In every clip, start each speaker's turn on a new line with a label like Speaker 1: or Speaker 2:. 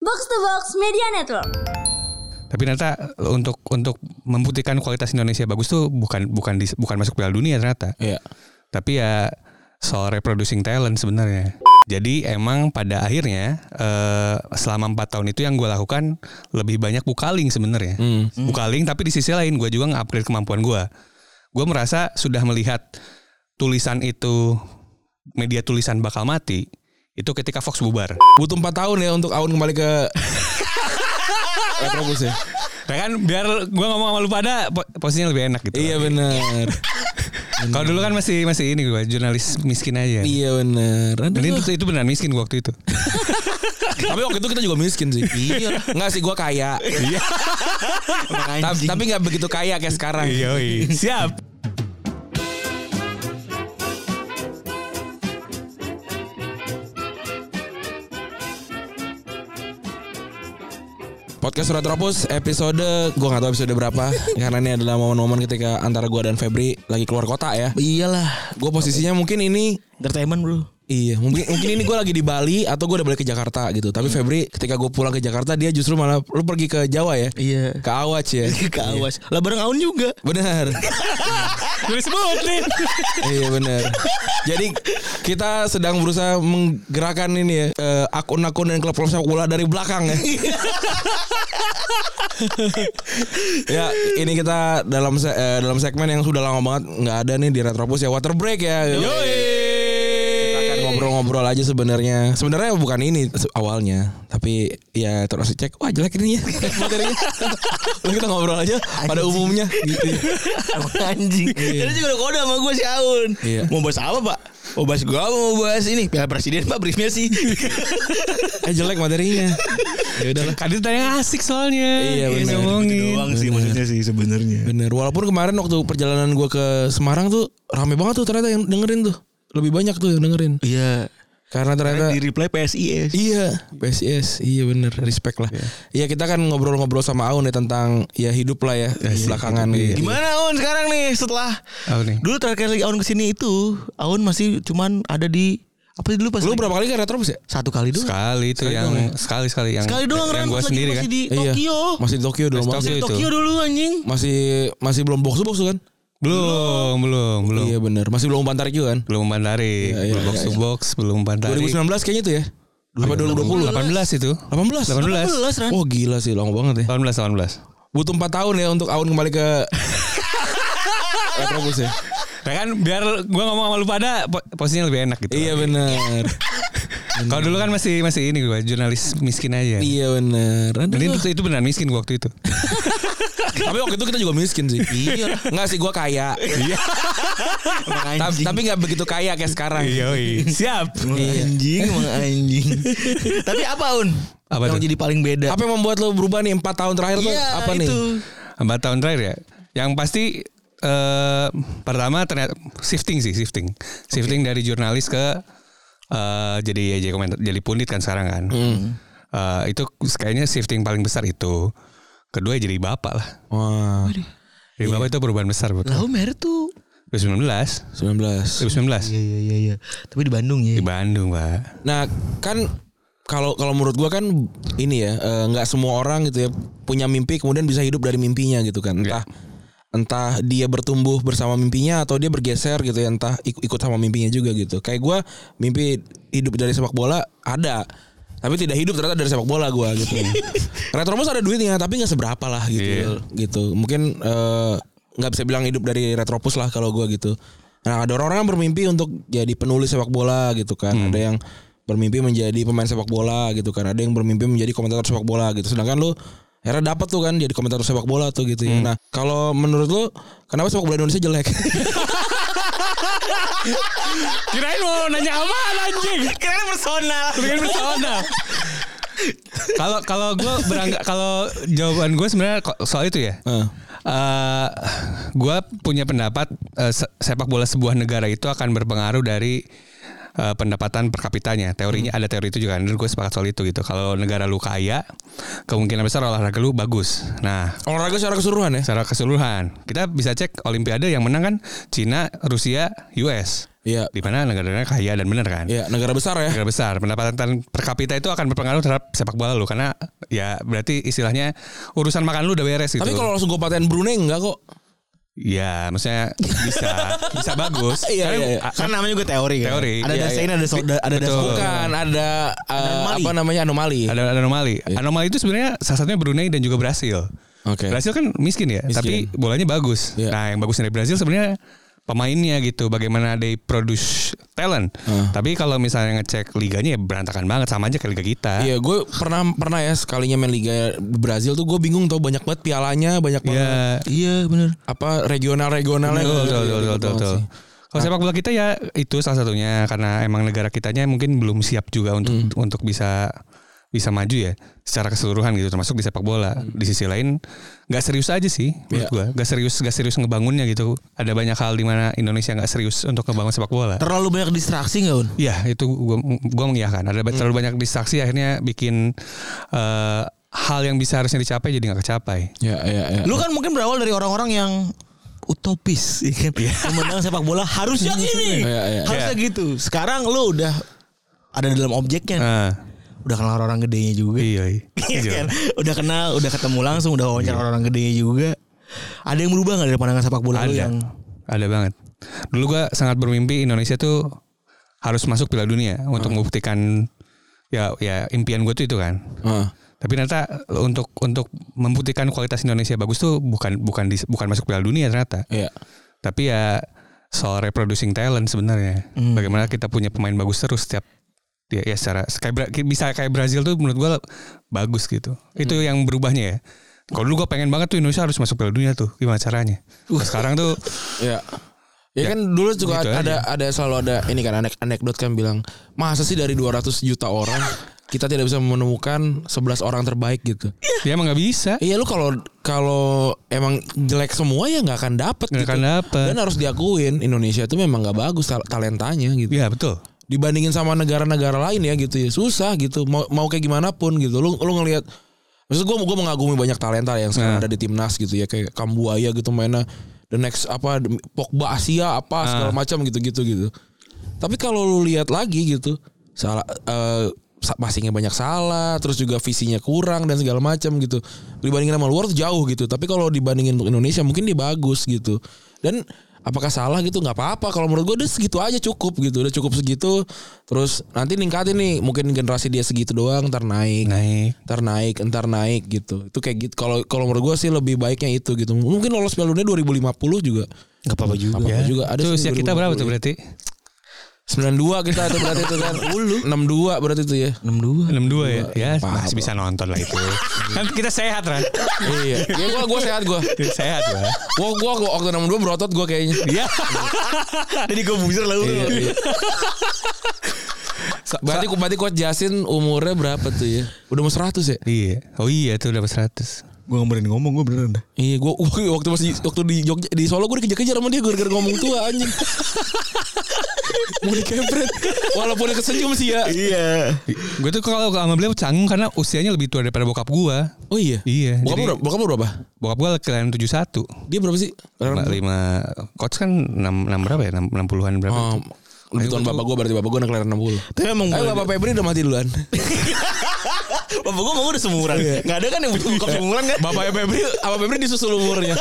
Speaker 1: Box to Box Media Network.
Speaker 2: Tapi ternyata untuk untuk membuktikan kualitas Indonesia bagus tuh bukan bukan di, bukan masuk Piala Dunia ternyata.
Speaker 3: Iya.
Speaker 2: Tapi ya soal reproducing talent sebenarnya. Jadi emang pada akhirnya eh, selama empat tahun itu yang gue lakukan lebih banyak bukaling sebenarnya.
Speaker 3: Hmm.
Speaker 2: Bukaling tapi di sisi lain gue juga nge-upgrade kemampuan gue. Gue merasa sudah melihat tulisan itu media tulisan bakal mati itu ketika Fox bubar.
Speaker 3: Butuh 4 tahun ya untuk Aun kembali ke Retrobus ya.
Speaker 2: Ya kan biar gue ngomong sama lu pada po- posisinya lebih enak gitu.
Speaker 3: Iya benar.
Speaker 2: Kalau dulu kan masih masih ini gue jurnalis miskin aja.
Speaker 3: iya benar.
Speaker 2: Dan itu itu benar miskin gua waktu itu.
Speaker 3: Tapi waktu itu kita juga miskin sih. Iya. Enggak sih gua kaya. Iya. tapi tapi enggak begitu kaya kayak sekarang. iya.
Speaker 2: Yoi. Siap.
Speaker 3: Podcast Surat Tropus episode gua nggak tahu episode berapa karena ini adalah momen-momen ketika antara gua dan Febri lagi keluar kota ya.
Speaker 4: Iyalah,
Speaker 3: Gua posisinya mungkin ini
Speaker 4: entertainment bro.
Speaker 3: Iya, mungkin mungkin ini gue lagi di Bali atau gue udah balik ke Jakarta gitu.
Speaker 4: Hmm.
Speaker 3: Tapi Febri, ketika gue pulang ke Jakarta, dia justru malah lu pergi ke Jawa ya,
Speaker 4: Iya.
Speaker 3: ke Awaj ya.
Speaker 4: Ke awas. Lah bareng Aun juga.
Speaker 3: Benar.
Speaker 2: Gue sebutin.
Speaker 3: iya benar. Jadi kita sedang berusaha menggerakkan ini ya eh, akun-akun dan klub-klub sepak bola dari belakang ya. ya ini kita dalam se- eh, dalam segmen yang sudah lama banget nggak ada nih di Retropus ya water break ya. Kita akan ngobrol-ngobrol aja sebenarnya. Sebenarnya bukan ini se- awalnya, tapi ya terus cek wah jelek ini ya materinya. Lalu kita ngobrol aja pada umumnya gitu.
Speaker 4: Emang anjing. Tadi juga udah kode sama gue si Aun.
Speaker 3: Iya.
Speaker 4: Mau bahas apa pak? Mau bahas gue mau bahas ini? Piala Presiden pak briefnya sih.
Speaker 3: Eh jelek materinya. Ya udahlah.
Speaker 2: Kan itu tanya asik soalnya.
Speaker 3: Iya,
Speaker 2: Dia
Speaker 3: benar.
Speaker 2: Ngomongin.
Speaker 5: doang sih maksudnya sih
Speaker 4: Iya.
Speaker 5: sebenarnya.
Speaker 3: Bener. Walaupun kemarin waktu perjalanan gua ke Semarang tuh rame banget tuh ternyata yang dengerin tuh. Lebih banyak tuh yang dengerin.
Speaker 4: Iya.
Speaker 3: Karena ternyata
Speaker 5: Di reply
Speaker 4: ya.
Speaker 5: PSIS.
Speaker 3: Iya, PSIS. Iya bener, respect lah. Iya, kita kan ngobrol-ngobrol sama Aun ya tentang ya hidup lah ya belakangan gitu.
Speaker 4: Gimana Aun sekarang nih setelah
Speaker 2: Apa nih?
Speaker 4: dulu terakhir lagi Aun kesini itu Aun masih cuman ada di apa dulu pas
Speaker 3: Lu
Speaker 4: lagi-
Speaker 3: berapa kali ke Retrobus ya?
Speaker 4: satu kali doang.
Speaker 2: Sekali itu yang sekali sekali yang
Speaker 4: Sekali doang
Speaker 2: yang gue
Speaker 4: Ran, pas lagi
Speaker 2: sendiri kan.
Speaker 4: masih
Speaker 3: Iya.
Speaker 4: di Tokyo.
Speaker 3: Masih di Tokyo dulu.
Speaker 2: Masih
Speaker 3: Masih,
Speaker 2: Tokyo.
Speaker 4: Di
Speaker 2: itu.
Speaker 4: Tokyo dulu anjing.
Speaker 3: masih masih belum box to box tuh kan?
Speaker 2: Belum, belum, belum.
Speaker 3: Iya bener, masih belum umpan tarik juga kan?
Speaker 2: Belum umpan tarik,
Speaker 3: iya,
Speaker 2: belum box
Speaker 3: iya,
Speaker 2: to box, belum umpan tarik.
Speaker 3: 2019 kayaknya itu ya. Apa 2020?
Speaker 2: 18 itu.
Speaker 3: 18.
Speaker 4: 18, Ran.
Speaker 3: Oh gila sih, lama banget ya.
Speaker 2: 18 18.
Speaker 3: Butuh 4 tahun ya untuk Aun kembali ke Retrobus ya.
Speaker 2: Ya kan biar gue ngomong sama lu pada po- posisinya lebih enak gitu.
Speaker 3: Iya bener.
Speaker 2: Kalau dulu kan masih masih ini gue jurnalis miskin aja.
Speaker 3: Iya bener. Aduh.
Speaker 2: Dan itu, itu benar miskin gua waktu itu.
Speaker 3: Tapi waktu itu kita juga miskin sih. Iya. Enggak sih gua kaya. Iya. tapi tapi enggak begitu kaya kayak sekarang. Iya.
Speaker 2: Yoi. Siap.
Speaker 4: Anjing, emang anjing. Tapi apa Un?
Speaker 2: Apa
Speaker 4: yang
Speaker 2: tuh?
Speaker 4: jadi paling beda?
Speaker 3: Apa yang membuat lo berubah nih 4 tahun terakhir tuh
Speaker 4: Iya,
Speaker 3: apa nih?
Speaker 4: itu.
Speaker 2: Empat tahun terakhir ya. Yang pasti eh pertama ternyata shifting sih shifting, shifting dari jurnalis ke eh jadi jadi komentar, jadi pundit kan sekarang kan. Eh, itu kayaknya shifting paling besar itu. Kedua jadi bapak lah.
Speaker 3: Wah.
Speaker 2: Jadi bapak itu perubahan besar buat
Speaker 4: Lau Mer tuh
Speaker 2: 2019,
Speaker 3: 19.
Speaker 2: 2019
Speaker 4: Iya iya iya iya. Tapi di Bandung ya.
Speaker 2: di Bandung pak.
Speaker 3: Nah, kan kalau kalau menurut gua kan ini ya eh, nggak semua orang gitu ya punya mimpi kemudian bisa hidup dari mimpinya gitu kan. Entah entah dia bertumbuh bersama mimpinya atau dia bergeser gitu ya entah ik- ikut sama mimpinya juga gitu. Kayak gua mimpi hidup dari sepak bola ada. Tapi tidak hidup ternyata dari sepak bola gua gitu. Retrobus ada duitnya tapi nggak seberapa lah gitu. Gitu. Mungkin eh, nggak bisa bilang hidup dari Retropus lah kalau gua gitu. Nah, ada orang-orang yang bermimpi untuk jadi penulis sepak bola gitu kan. Ada yang bermimpi menjadi pemain sepak bola gitu kan. Ada yang bermimpi menjadi komentator sepak bola gitu. Sedangkan lu akhirnya dapat tuh kan jadi komentator sepak bola tuh gitu ya. Nah, kalau menurut lu kenapa sepak bola Indonesia jelek?
Speaker 2: Kirain mau nanya apa anjing? kan
Speaker 4: Karena personal.
Speaker 2: Bikin persona. Kalau kalau gue berangga kalau jawaban gue sebenarnya ko- soal itu ya.
Speaker 3: Heeh.
Speaker 2: Eh, gue punya pendapat eh, se- sepak bola sebuah negara itu akan berpengaruh dari eh, pendapatan per kapitanya.
Speaker 3: Hmm.
Speaker 2: Teorinya ada teori itu juga. Dan gue sepakat soal itu gitu. Kalau negara lu kaya, kemungkinan besar olahraga lu bagus. Nah,
Speaker 3: Olahraga secara keseluruhan ya?
Speaker 2: secara keseluruhan kita bisa cek Olimpiade yang menang kan Cina, Rusia, US.
Speaker 3: Iya.
Speaker 2: Di mana negara-negara kaya dan benar kan?
Speaker 3: Iya, negara besar ya.
Speaker 2: Negara besar pendapatan per kapita itu akan berpengaruh terhadap sepak bola lu karena ya berarti istilahnya urusan makan lu udah beres gitu.
Speaker 3: Tapi kalau langsung gue paten Brunei enggak kok.
Speaker 2: ya maksudnya bisa bisa bagus.
Speaker 3: Iya,
Speaker 2: Karena-
Speaker 3: iya, iya.
Speaker 2: a-
Speaker 5: Kan namanya juga teori kan.
Speaker 2: Teori,
Speaker 5: Ada
Speaker 2: iya,
Speaker 5: dasarnya ada so- ada
Speaker 2: Betul.
Speaker 5: dasar.
Speaker 3: Bukan ada eh, apa namanya anomali.
Speaker 2: Oh. Ada, ada anomali. Anomali itu sebenarnya salah satunya Brunei dan juga Brasil.
Speaker 3: Iya. Oke.
Speaker 2: Brasil kan miskin ya, tapi bolanya bagus.
Speaker 3: Iya.
Speaker 2: Nah, yang bagus dari Brasil sebenarnya pemainnya gitu, bagaimana they produce talent. Tapi kalau misalnya ngecek liganya ya berantakan banget sama aja kayak liga kita.
Speaker 3: Iya, gue pernah pernah ya sekalinya main liga Brazil tuh gue bingung tau banyak banget pialanya, banyak banget
Speaker 2: Iya.
Speaker 4: Iya bener
Speaker 3: apa gitu. regional regionalnya.
Speaker 2: Betul, betul, betul, Iya, betul, betul. Kalau sepak bola kita ya itu salah satunya karena emang negara kitanya mungkin belum siap juga untuk untuk bisa bisa maju ya secara keseluruhan gitu termasuk di sepak bola. Di sisi lain nggak serius aja sih menurut gua. Nggak serius nggak serius ngebangunnya gitu. Ada banyak hal di mana Indonesia nggak serius untuk ngebangun sepak bola.
Speaker 4: Terlalu banyak distraksi gak Un?
Speaker 2: Ya itu gua gua mengiyakan. Ada ba- terlalu banyak distraksi akhirnya bikin eh, hal yang bisa harusnya dicapai jadi nggak kecapai.
Speaker 3: Ya, ya, ya.
Speaker 4: Lu kan mungkin berawal dari orang-orang yang utopis, ya kan? Memandang sepak bola harusnya gini,
Speaker 3: Iya, iya.
Speaker 4: harusnya gitu. Sekarang lu udah ada dalam objeknya,
Speaker 2: Ah,
Speaker 4: udah kenal orang-orang gedenya juga,
Speaker 2: iya. iya.
Speaker 4: Iya kan? udah kenal, udah ketemu langsung, udah wawancara orang-orang gedenya juga. Ada yang berubah nggak dari pandangan sepak bola lu
Speaker 2: Ada.
Speaker 4: yang
Speaker 2: Ada banget. Dulu gua sangat bermimpi Indonesia tuh harus masuk Piala Dunia untuk membuktikan ya ya impian gue tuh itu kan.
Speaker 3: Ah.
Speaker 2: Tapi ternyata untuk untuk membuktikan kualitas Indonesia bagus tuh bukan bukan di- bukan masuk Piala Dunia ternyata.
Speaker 3: Iya.
Speaker 2: Tapi ya soal reproducing talent sebenarnya. Bagaimana kita punya pemain bagus terus setiap ya, ya secara kayak Bra- kayak- bisa kayak Brazil tuh menurut gua bagus gitu. Itu yang berubahnya ya. Kalau dulu gue pengen banget tuh Indonesia harus masuk Piala Dunia tuh gimana caranya. Nah, sekarang tuh
Speaker 3: Ya. Ya, kan dulu juga
Speaker 2: gitu
Speaker 3: ada ada selalu ada ini kan anek anekdot kan bilang masa sih dari 200 juta orang kita tidak bisa menemukan 11 orang terbaik gitu.
Speaker 2: dia emang nggak bisa.
Speaker 3: Iya lu kalau kalau emang jelek semua ya nggak akan dapet
Speaker 2: Nggak
Speaker 3: gitu.
Speaker 2: akan dapet.
Speaker 3: Dan harus diakuin Indonesia itu memang nggak bagus tal- talentanya gitu.
Speaker 2: Iya betul.
Speaker 3: dibandingin sama negara-negara lain ya gitu ya susah gitu mau mau kayak gimana pun gitu lu lu ngelihat maksud gue gue mengagumi banyak talenta yang
Speaker 2: Nah.
Speaker 3: sekarang ada di timnas gitu ya kayak Kambuaya gitu mainnya the next apa Pogba Asia apa segala macam gitu gitu gitu tapi kalau lu lihat lagi gitu salah eh, sa- passingnya banyak salah terus juga visinya kurang dan segala macam gitu dibandingin sama luar tuh jauh gitu tapi kalau dibandingin untuk Indonesia mungkin dia bagus gitu dan apakah salah gitu nggak apa-apa kalau menurut gue udah segitu aja cukup gitu udah cukup segitu terus nanti ningkatin nih mungkin generasi dia segitu doang ntar naik
Speaker 2: Naik.
Speaker 3: ntar naik entar naik gitu itu kayak gitu kalau kalau menurut gue sih lebih baiknya itu gitu mungkin lolos Piala Dunia 2050 juga
Speaker 4: nggak apa-apa juga?
Speaker 3: apa
Speaker 2: Ya.
Speaker 3: juga ada
Speaker 2: Tuh
Speaker 3: sih
Speaker 2: usia kita berapa
Speaker 3: 2050.
Speaker 2: tuh berarti?
Speaker 3: 92 kita itu berarti itu kan. 62 berarti itu ya.
Speaker 4: 62
Speaker 2: 62 ya. Ya
Speaker 3: Paham,
Speaker 2: masih bisa nonton lah itu. kan kita sehat kan.
Speaker 3: iya. Ya gua gua sehat gua.
Speaker 2: sehat lah.
Speaker 3: Gua gua, gua waktu 62 berotot gua kayaknya.
Speaker 2: Iya.
Speaker 4: Jadi gue buzzer lah
Speaker 3: Iya,
Speaker 4: lu.
Speaker 3: iya. Berarti berarti coach Jasin umurnya berapa tuh ya? Udah mau 100 ya?
Speaker 2: Iya. Oh iya tuh dapat 100.
Speaker 5: Gue gak berani ngomong, gue beneran dah.
Speaker 3: Iya, gua gua waktu masih waktu di Jogja di Solo gua dikejar-kejar sama dia gara-gara ngomong tua anjing. Mau dikempret. Walaupun dia kesenyum sih ya.
Speaker 5: Iya.
Speaker 2: Gue tuh kalau sama beliau canggung karena usianya lebih tua daripada bokap gua.
Speaker 3: Oh iya.
Speaker 2: Iya.
Speaker 3: Bokap
Speaker 2: jadi-
Speaker 3: lu berapa? Bokap lu berapa?
Speaker 2: Bokap gua kelahiran 71.
Speaker 3: Dia berapa sih?
Speaker 2: Mbak lima coach kan 6 6 berapa ya? 6 60-an berapa?
Speaker 3: Oh,
Speaker 2: itu?
Speaker 3: lebih tua bapak gua berarti bapak gua anak kelahiran 60.
Speaker 4: Tapi emang
Speaker 3: Ayo
Speaker 4: gua-
Speaker 3: bapak Febri udah mati duluan.
Speaker 4: bapak gue mau udah semuran. Nggak ada kan yang punya bokap semuran kan?
Speaker 3: Bapaknya Iya. Febri, apa Febri disusul umurnya.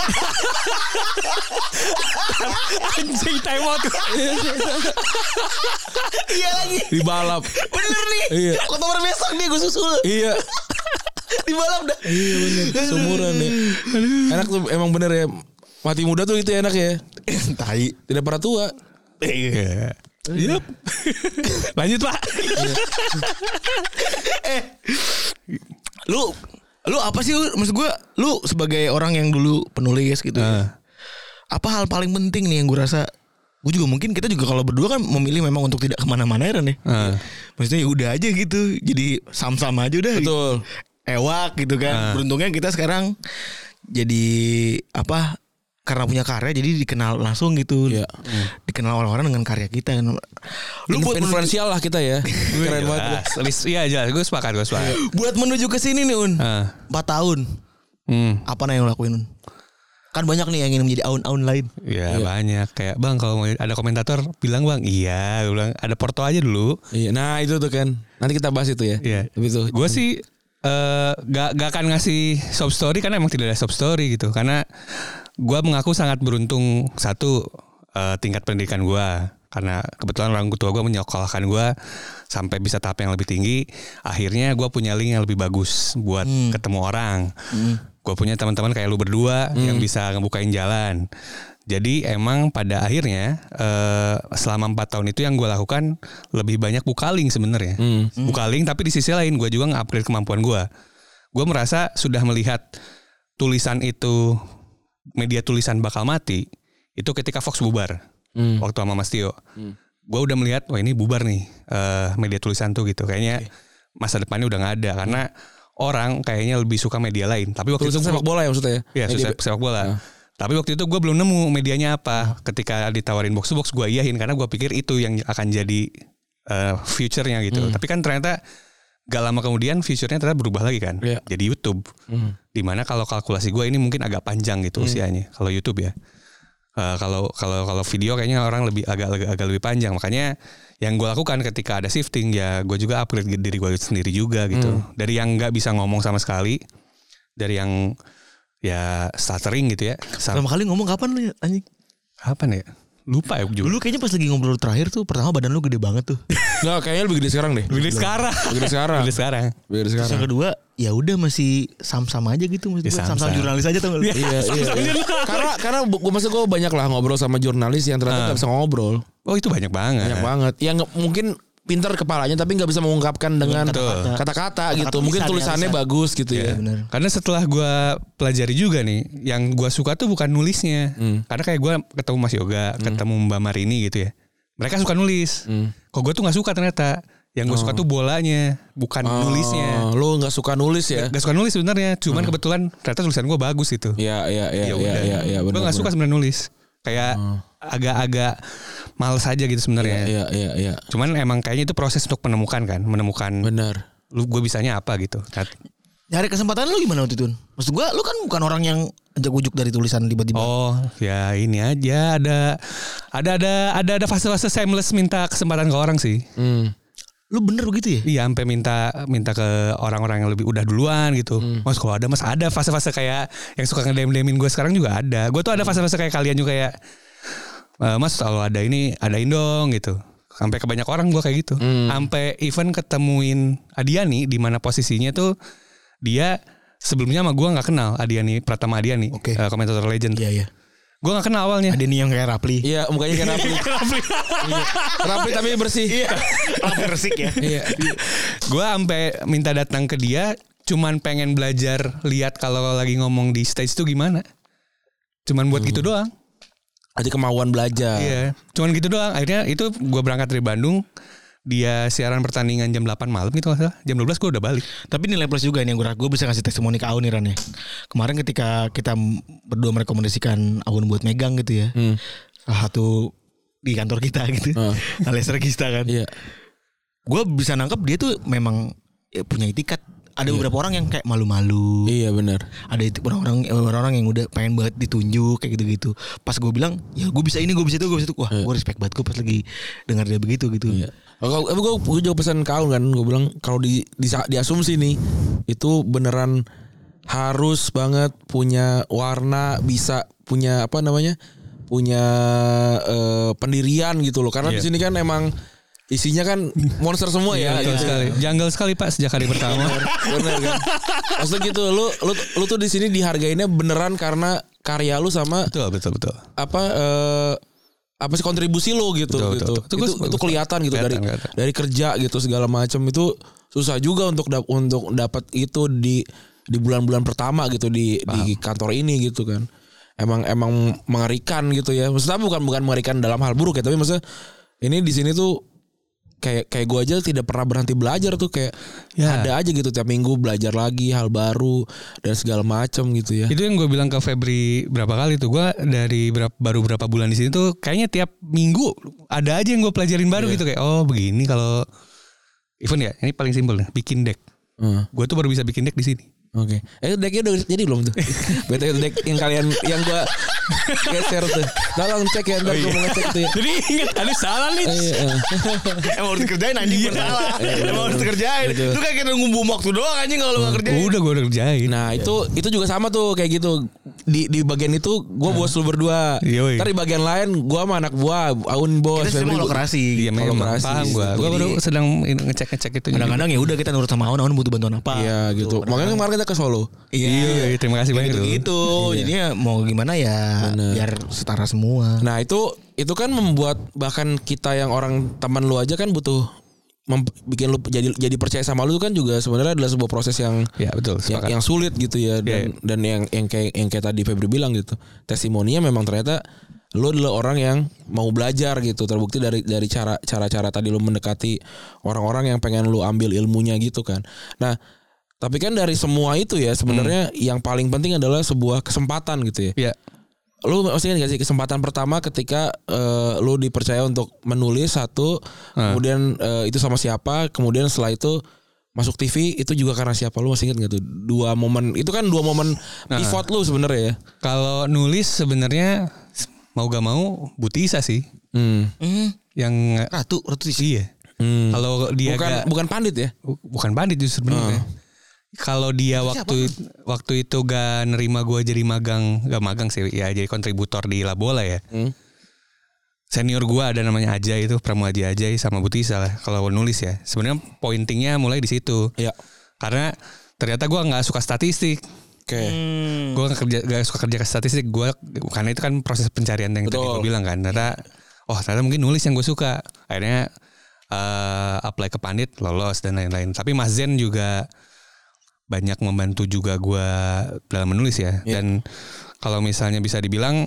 Speaker 2: Anjing time out.
Speaker 4: Iya lagi.
Speaker 3: Dibalap.
Speaker 4: Bener nih.
Speaker 3: Iya.
Speaker 4: Oktober besok dia gue susul.
Speaker 3: Iya.
Speaker 4: Dibalap dah.
Speaker 3: Iya bener. Seumuran ya. Enak tuh emang bener ya. Mati muda tuh itu enak ya.
Speaker 5: Tai.
Speaker 3: Tidak pernah tua.
Speaker 2: Iya. Yup. Lanjut, Pak.
Speaker 4: lu lu apa sih lu- maksud gue lu sebagai orang yang dulu penulis gitu ya. apa hal paling penting nih yang gue rasa gue juga mungkin kita juga kalau berdua kan memilih memang untuk tidak kemana-mana ya Ren, ya
Speaker 2: Heeh.
Speaker 4: maksudnya ya udah aja gitu jadi sama-sama aja udah
Speaker 3: Betul.
Speaker 4: ewak gitu kan beruntungnya kita sekarang jadi apa karena punya karya jadi dikenal langsung gitu.
Speaker 3: Iya.
Speaker 4: Dikenal orang-orang dengan karya kita.
Speaker 3: Lu
Speaker 4: Lu buat
Speaker 3: buat
Speaker 4: menuju,
Speaker 3: influensial lah kita ya. Keren banget. gua.
Speaker 2: Jelas. Lebih iya jelas. Gue sepakat, gue sepakat.
Speaker 4: buat menuju ke sini nih Un.
Speaker 2: Heeh.
Speaker 4: Empat tahun.
Speaker 2: Hmm.
Speaker 4: Apa nih yang lo lakuin Un? Kan banyak nih yang ingin menjadi aun-aun lain.
Speaker 2: Ya banyak kayak bang kalau mau ada komentator bilang bang iya gue bilang ada porto aja dulu
Speaker 3: Iya, nah itu tuh kan. Nanti kita bahas itu ya.
Speaker 2: Iya.
Speaker 3: Tapi tuh
Speaker 2: Gue sih eh gak, gak akan ngasih sob story karena emang tidak ada sob story gitu. Karena gue mengaku sangat beruntung satu eh, tingkat pendidikan gue karena kebetulan orang tua gue menyekolahkan gue sampai bisa tahap yang lebih tinggi. Akhirnya gue punya link yang lebih bagus buat
Speaker 3: Hmm.
Speaker 2: ketemu orang. Gue punya teman-teman kayak lu berdua
Speaker 3: Hmm.
Speaker 2: yang bisa ngebukain jalan. Jadi emang pada akhirnya eh, selama empat tahun itu yang gue lakukan lebih banyak bukaling sebenarnya.
Speaker 3: Hmm.
Speaker 2: Bukaling tapi di sisi lain gue juga nge-upgrade kemampuan gue. Gue merasa sudah melihat tulisan itu media tulisan bakal mati itu ketika Fox bubar
Speaker 3: Hmm.
Speaker 2: waktu sama Mas Tio. Gue udah melihat wah ini bubar nih eh, media tulisan tuh gitu. Kayaknya masa depannya udah nggak ada karena orang kayaknya lebih suka media lain. Tapi waktu
Speaker 3: tulisan
Speaker 2: itu
Speaker 3: sepak bola ya maksudnya ya.
Speaker 2: Iya,
Speaker 3: Media-
Speaker 2: sepak, sepak bola. Tapi waktu itu gue belum nemu medianya apa. Ketika ditawarin box to box gue iyahin karena gue pikir itu yang akan jadi eh, future-nya gitu.
Speaker 3: Hmm.
Speaker 2: Tapi kan ternyata gak lama kemudian future-nya ternyata berubah lagi kan.
Speaker 3: Iya.
Speaker 2: Jadi YouTube.
Speaker 3: Hmm.
Speaker 2: Dimana kalau kalkulasi gue ini mungkin agak panjang gitu usianya kalau YouTube ya. Eh, kalau kalau kalau video kayaknya orang lebih agak agak, agak lebih panjang makanya yang gue lakukan ketika ada shifting ya gue juga upgrade diri gue sendiri juga gitu dari yang nggak bisa ngomong sama sekali dari yang ya stuttering gitu ya Sam-
Speaker 4: Pertama kali ngomong kapan lu anjing?
Speaker 2: apa nih ya? lupa ya juga
Speaker 4: Dulu kayaknya pas lagi ngobrol terakhir tuh pertama badan lu gede banget tuh.
Speaker 3: Nggak, kayaknya lebih gede sekarang deh.
Speaker 2: Beli sekarang
Speaker 3: Lebih gede sekarang.
Speaker 2: Beli sekarang
Speaker 3: Lebih gede
Speaker 4: Terus yang
Speaker 3: sekarang.
Speaker 4: kedua ya udah masih sama-sama aja gitu
Speaker 2: Ah.
Speaker 4: maksud
Speaker 2: Ya,
Speaker 4: gue. Sama-sama
Speaker 2: sam-sam.
Speaker 4: jurnalis aja tuh.
Speaker 2: Iya.
Speaker 3: Iya, iya, iya. Karena karena gue masa gue banyak lah ngobrol sama jurnalis yang ternyata
Speaker 2: Ah.
Speaker 3: nggak bisa ngobrol.
Speaker 2: oh itu banyak banget
Speaker 3: Banyak banget. Yang nggak- mungkin pinter kepalanya tapi nggak bisa mengungkapkan dengan
Speaker 2: Betul.
Speaker 3: kata-kata gitu.
Speaker 4: Kata-kata
Speaker 3: Mungkin
Speaker 4: lisan ya,
Speaker 3: tulisannya
Speaker 4: lisan.
Speaker 3: bagus gitu
Speaker 2: Iya.
Speaker 3: ya.
Speaker 4: Bener.
Speaker 2: Karena setelah gue pelajari juga nih, yang gue suka tuh bukan nulisnya.
Speaker 3: Hmm.
Speaker 2: Karena kayak gue ketemu Mas Yoga, ketemu Mbak Marini gitu ya. Mereka suka nulis.
Speaker 3: Hmm.
Speaker 2: Kok gue tuh nggak suka ternyata. Yang gue suka tuh bolanya, bukan nulisnya.
Speaker 3: Oh, Hmm. Lo nggak suka nulis ya?
Speaker 2: Gak suka nulis sebenarnya, cuman kebetulan ternyata tulisan gue bagus gitu.
Speaker 3: Ya, ya,
Speaker 2: Ya
Speaker 3: ya, ya,
Speaker 2: udah.
Speaker 3: ya, ya,
Speaker 2: gue
Speaker 3: benar,
Speaker 2: nggak suka
Speaker 3: benar.
Speaker 2: sebenarnya nulis. Kayak
Speaker 3: Oh.
Speaker 2: agak-agak males aja gitu sebenarnya.
Speaker 3: Ya, ya, ya,
Speaker 2: Cuman emang kayaknya itu proses untuk menemukan kan, menemukan
Speaker 3: benar.
Speaker 2: lu gue bisanya apa gitu.
Speaker 4: Nyari kesempatan lu gimana waktu itu? Un? Maksud gua lu kan bukan orang yang ujuk-ujuk dari tulisan tiba-tiba.
Speaker 2: Oh ya ini aja ada ada ada ada ada fase-fase seamless minta kesempatan ke orang sih.
Speaker 3: Hmm.
Speaker 4: Lu bener begitu ya?
Speaker 2: Iya sampai minta minta ke orang-orang yang lebih udah duluan gitu.
Speaker 4: Hmm.
Speaker 2: Mas kalau ada mas ada fase-fase kayak yang suka ngedem-demin gue sekarang juga ada. Gue tuh
Speaker 4: Hmm.
Speaker 2: ada fase-fase kayak kalian juga kayak "Eh, Mas kalau ada ini adain dong gitu. Sampai ke banyak orang gue kayak gitu.
Speaker 4: Hmm.
Speaker 2: Sampai event ketemuin Adiani di mana posisinya tuh dia sebelumnya sama gue nggak kenal Adiani Pratama Adiani
Speaker 4: Oke.
Speaker 2: eh, komentator legend.
Speaker 4: Iya iya.
Speaker 2: Gue nggak kenal awalnya.
Speaker 4: Ada nih yang kayak Rapli.
Speaker 3: Iya, mukanya kayak Rafli. Iya. Rafli tapi bersih. Iya.
Speaker 4: Rapli resik ya.
Speaker 2: Iya. gue sampai minta datang ke dia cuman pengen belajar lihat kalau lagi ngomong di stage tuh gimana cuman buat gitu doang
Speaker 3: Ada kemauan belajar.
Speaker 2: iya cuman gitu doang akhirnya itu gue berangkat dari Bandung dia siaran pertandingan jam 8 malam gitu nggak salah jam 12 gue udah balik
Speaker 4: Tapi nilai plus juga nih yang gue gue bisa ngasih testimoni ke Aun nih Ran ya. Kemarin ketika kita m- berdua merekomendasikan Aun buat megang gitu ya.
Speaker 3: Hmm.
Speaker 4: Salah satu di kantor kita gitu. Alias regista kan.
Speaker 3: Ah. Iya.
Speaker 4: Gue bisa nangkep dia tuh memang ya, punya etikat. Ada beberapa orang yang kayak malu-malu.
Speaker 3: Iya, benar.
Speaker 4: Ada itu orang-orang orang-orang yang udah pengen banget ditunjuk kayak gitu-gitu. Pas gue bilang, ya gue bisa ini, gue bisa itu, gue bisa itu. Wah, gue respect banget gue pas lagi dengar dia begitu gitu.
Speaker 3: Iya. Kalau gue gue juga pesan kau kan, gue bilang kalau di, di diasumsi nih itu beneran harus banget punya warna, bisa punya apa namanya, punya eh, pendirian gitu loh. Karena di
Speaker 2: Iya.
Speaker 3: sini kan emang isinya kan monster semua ya.
Speaker 2: Betul
Speaker 3: gitu.
Speaker 2: sekali janggal sekali pak sejak hari pertama
Speaker 3: Bener kan. Maksudnya gitu, lu lu, lu tuh di sini dihargainnya beneran karena karya lu sama
Speaker 2: betul betul betul
Speaker 3: apa eh, apa sih kontribusi lo gitu
Speaker 2: Betul,
Speaker 3: gitu.
Speaker 2: betul, betul. Itu
Speaker 3: Itu,
Speaker 2: gua-
Speaker 3: itu kelihatan gitu
Speaker 2: kelihatan,
Speaker 3: dari
Speaker 2: kelihatan.
Speaker 3: dari kerja gitu segala macam itu susah juga untuk dap- untuk dapat itu di di bulan-bulan pertama gitu di di kantor ini gitu kan. Emang emang mengerikan gitu ya. Maksudnya bukan bukan mengerikan dalam hal buruk ya, tapi maksudnya ini di sini tuh kayak kayak gue aja tidak pernah berhenti belajar tuh kayak
Speaker 2: Ya.
Speaker 3: ada aja gitu tiap minggu belajar lagi hal baru dan segala macam gitu ya.
Speaker 2: Itu yang gue bilang ke Febri berapa kali tuh gue dari berap- baru berapa bulan di sini tuh kayaknya tiap minggu ada aja yang gue pelajarin baru gitu kayak oh begini kalau even ya ini paling simpel nih bikin deck.
Speaker 3: Hmm,
Speaker 2: Gue tuh baru bisa bikin deck di sini.
Speaker 3: Oke. Eh decknya udah jadi belum tuh? Betul deck yang kalian yang gue geser tuh. Tolong cek ya ntar gue mau ngecek tuh. Ya.
Speaker 2: Oh, iya. Jadi ingat ada salah nih.
Speaker 3: Eh, iya, iya.
Speaker 4: Emang harus dikerjain anjing bersalah. Emang harus dikerjain.
Speaker 3: Betul.
Speaker 4: Itu kan kita nunggu waktu doang anjing kalau lu gak kerjain.
Speaker 2: Udah gue udah kerjain.
Speaker 3: Nah itu
Speaker 2: Iya.
Speaker 3: itu juga sama tuh kayak gitu di di bagian itu gue bos lu berdua.
Speaker 2: Iya. Yoi.
Speaker 3: Ntar di bagian lain gue sama anak buah, Aun bos.
Speaker 4: Kita
Speaker 3: Febri,
Speaker 4: semua
Speaker 3: gua-
Speaker 4: lokasi.
Speaker 2: Iya memang
Speaker 3: kolaborasi
Speaker 2: paham
Speaker 3: di
Speaker 2: gue.
Speaker 3: situ.
Speaker 2: Gue baru
Speaker 3: Jadi-
Speaker 2: sedang in- ngecek-ngecek itu.
Speaker 4: Kadang-kadang ya udah kita nurut sama Aun, Aun butuh bantuan apa.
Speaker 3: Iya gitu. Makanya kemarin kita ke Solo.
Speaker 2: Iya, terima kasih banyak
Speaker 4: Gitu,
Speaker 2: tuh.
Speaker 4: gitu. Jadinya mau gimana ya biar setara semua.
Speaker 3: Nah itu itu kan membuat bahkan kita yang orang teman lu aja kan butuh mem- bikin lu jadi jadi percaya sama lu kan juga sebenarnya adalah sebuah proses yang
Speaker 2: Ya betul.
Speaker 3: yang,
Speaker 2: sepakat.
Speaker 3: yang sulit gitu ya dan dan yang yang kayak yang kayak tadi Febri bilang gitu testimoninya memang ternyata lo adalah orang yang mau belajar gitu terbukti dari dari cara cara cara tadi lo mendekati orang-orang yang pengen lo ambil ilmunya gitu kan nah tapi kan dari semua itu ya sebenarnya yang paling penting adalah sebuah kesempatan gitu ya
Speaker 2: Iya.
Speaker 3: lu masih ingat gak sih kesempatan pertama ketika eh, lu dipercaya untuk menulis satu kemudian eh, itu sama siapa kemudian setelah itu masuk TV itu juga karena siapa lu masih ingat gak tuh dua momen itu kan dua momen pivot lu sebenarnya ya
Speaker 2: Kalau nulis sebenarnya mau gak mau Butisa sih
Speaker 3: hmm.
Speaker 2: yang
Speaker 4: Ratu, ratu di
Speaker 2: iya. Kalau dia
Speaker 3: bukan
Speaker 2: gak-
Speaker 3: bukan pandit ya
Speaker 2: bukan bandit justru sebenarnya. Kalau dia waktu waktu itu gak nerima gue jadi magang, gak magang sih ya jadi kontributor di Labola ya. Senior gue ada namanya Ajay itu Pramu Haji Ajay sama Butisa lah kalau nulis ya. Sebenarnya pointingnya mulai di situ.
Speaker 3: Iya.
Speaker 2: Karena ternyata gue nggak suka statistik.
Speaker 3: oke
Speaker 2: Gue gak, kan kerja, nggak suka kerja ke statistik Gue Karena itu kan proses pencarian yang tadi
Speaker 3: Betul.
Speaker 2: gue bilang kan Ternyata Oh ternyata mungkin nulis yang gue suka Akhirnya eh, Apply ke Pandit Lolos dan lain-lain Tapi Mas Zen juga Banyak membantu juga gue Dalam menulis ya Dan Kalau misalnya bisa dibilang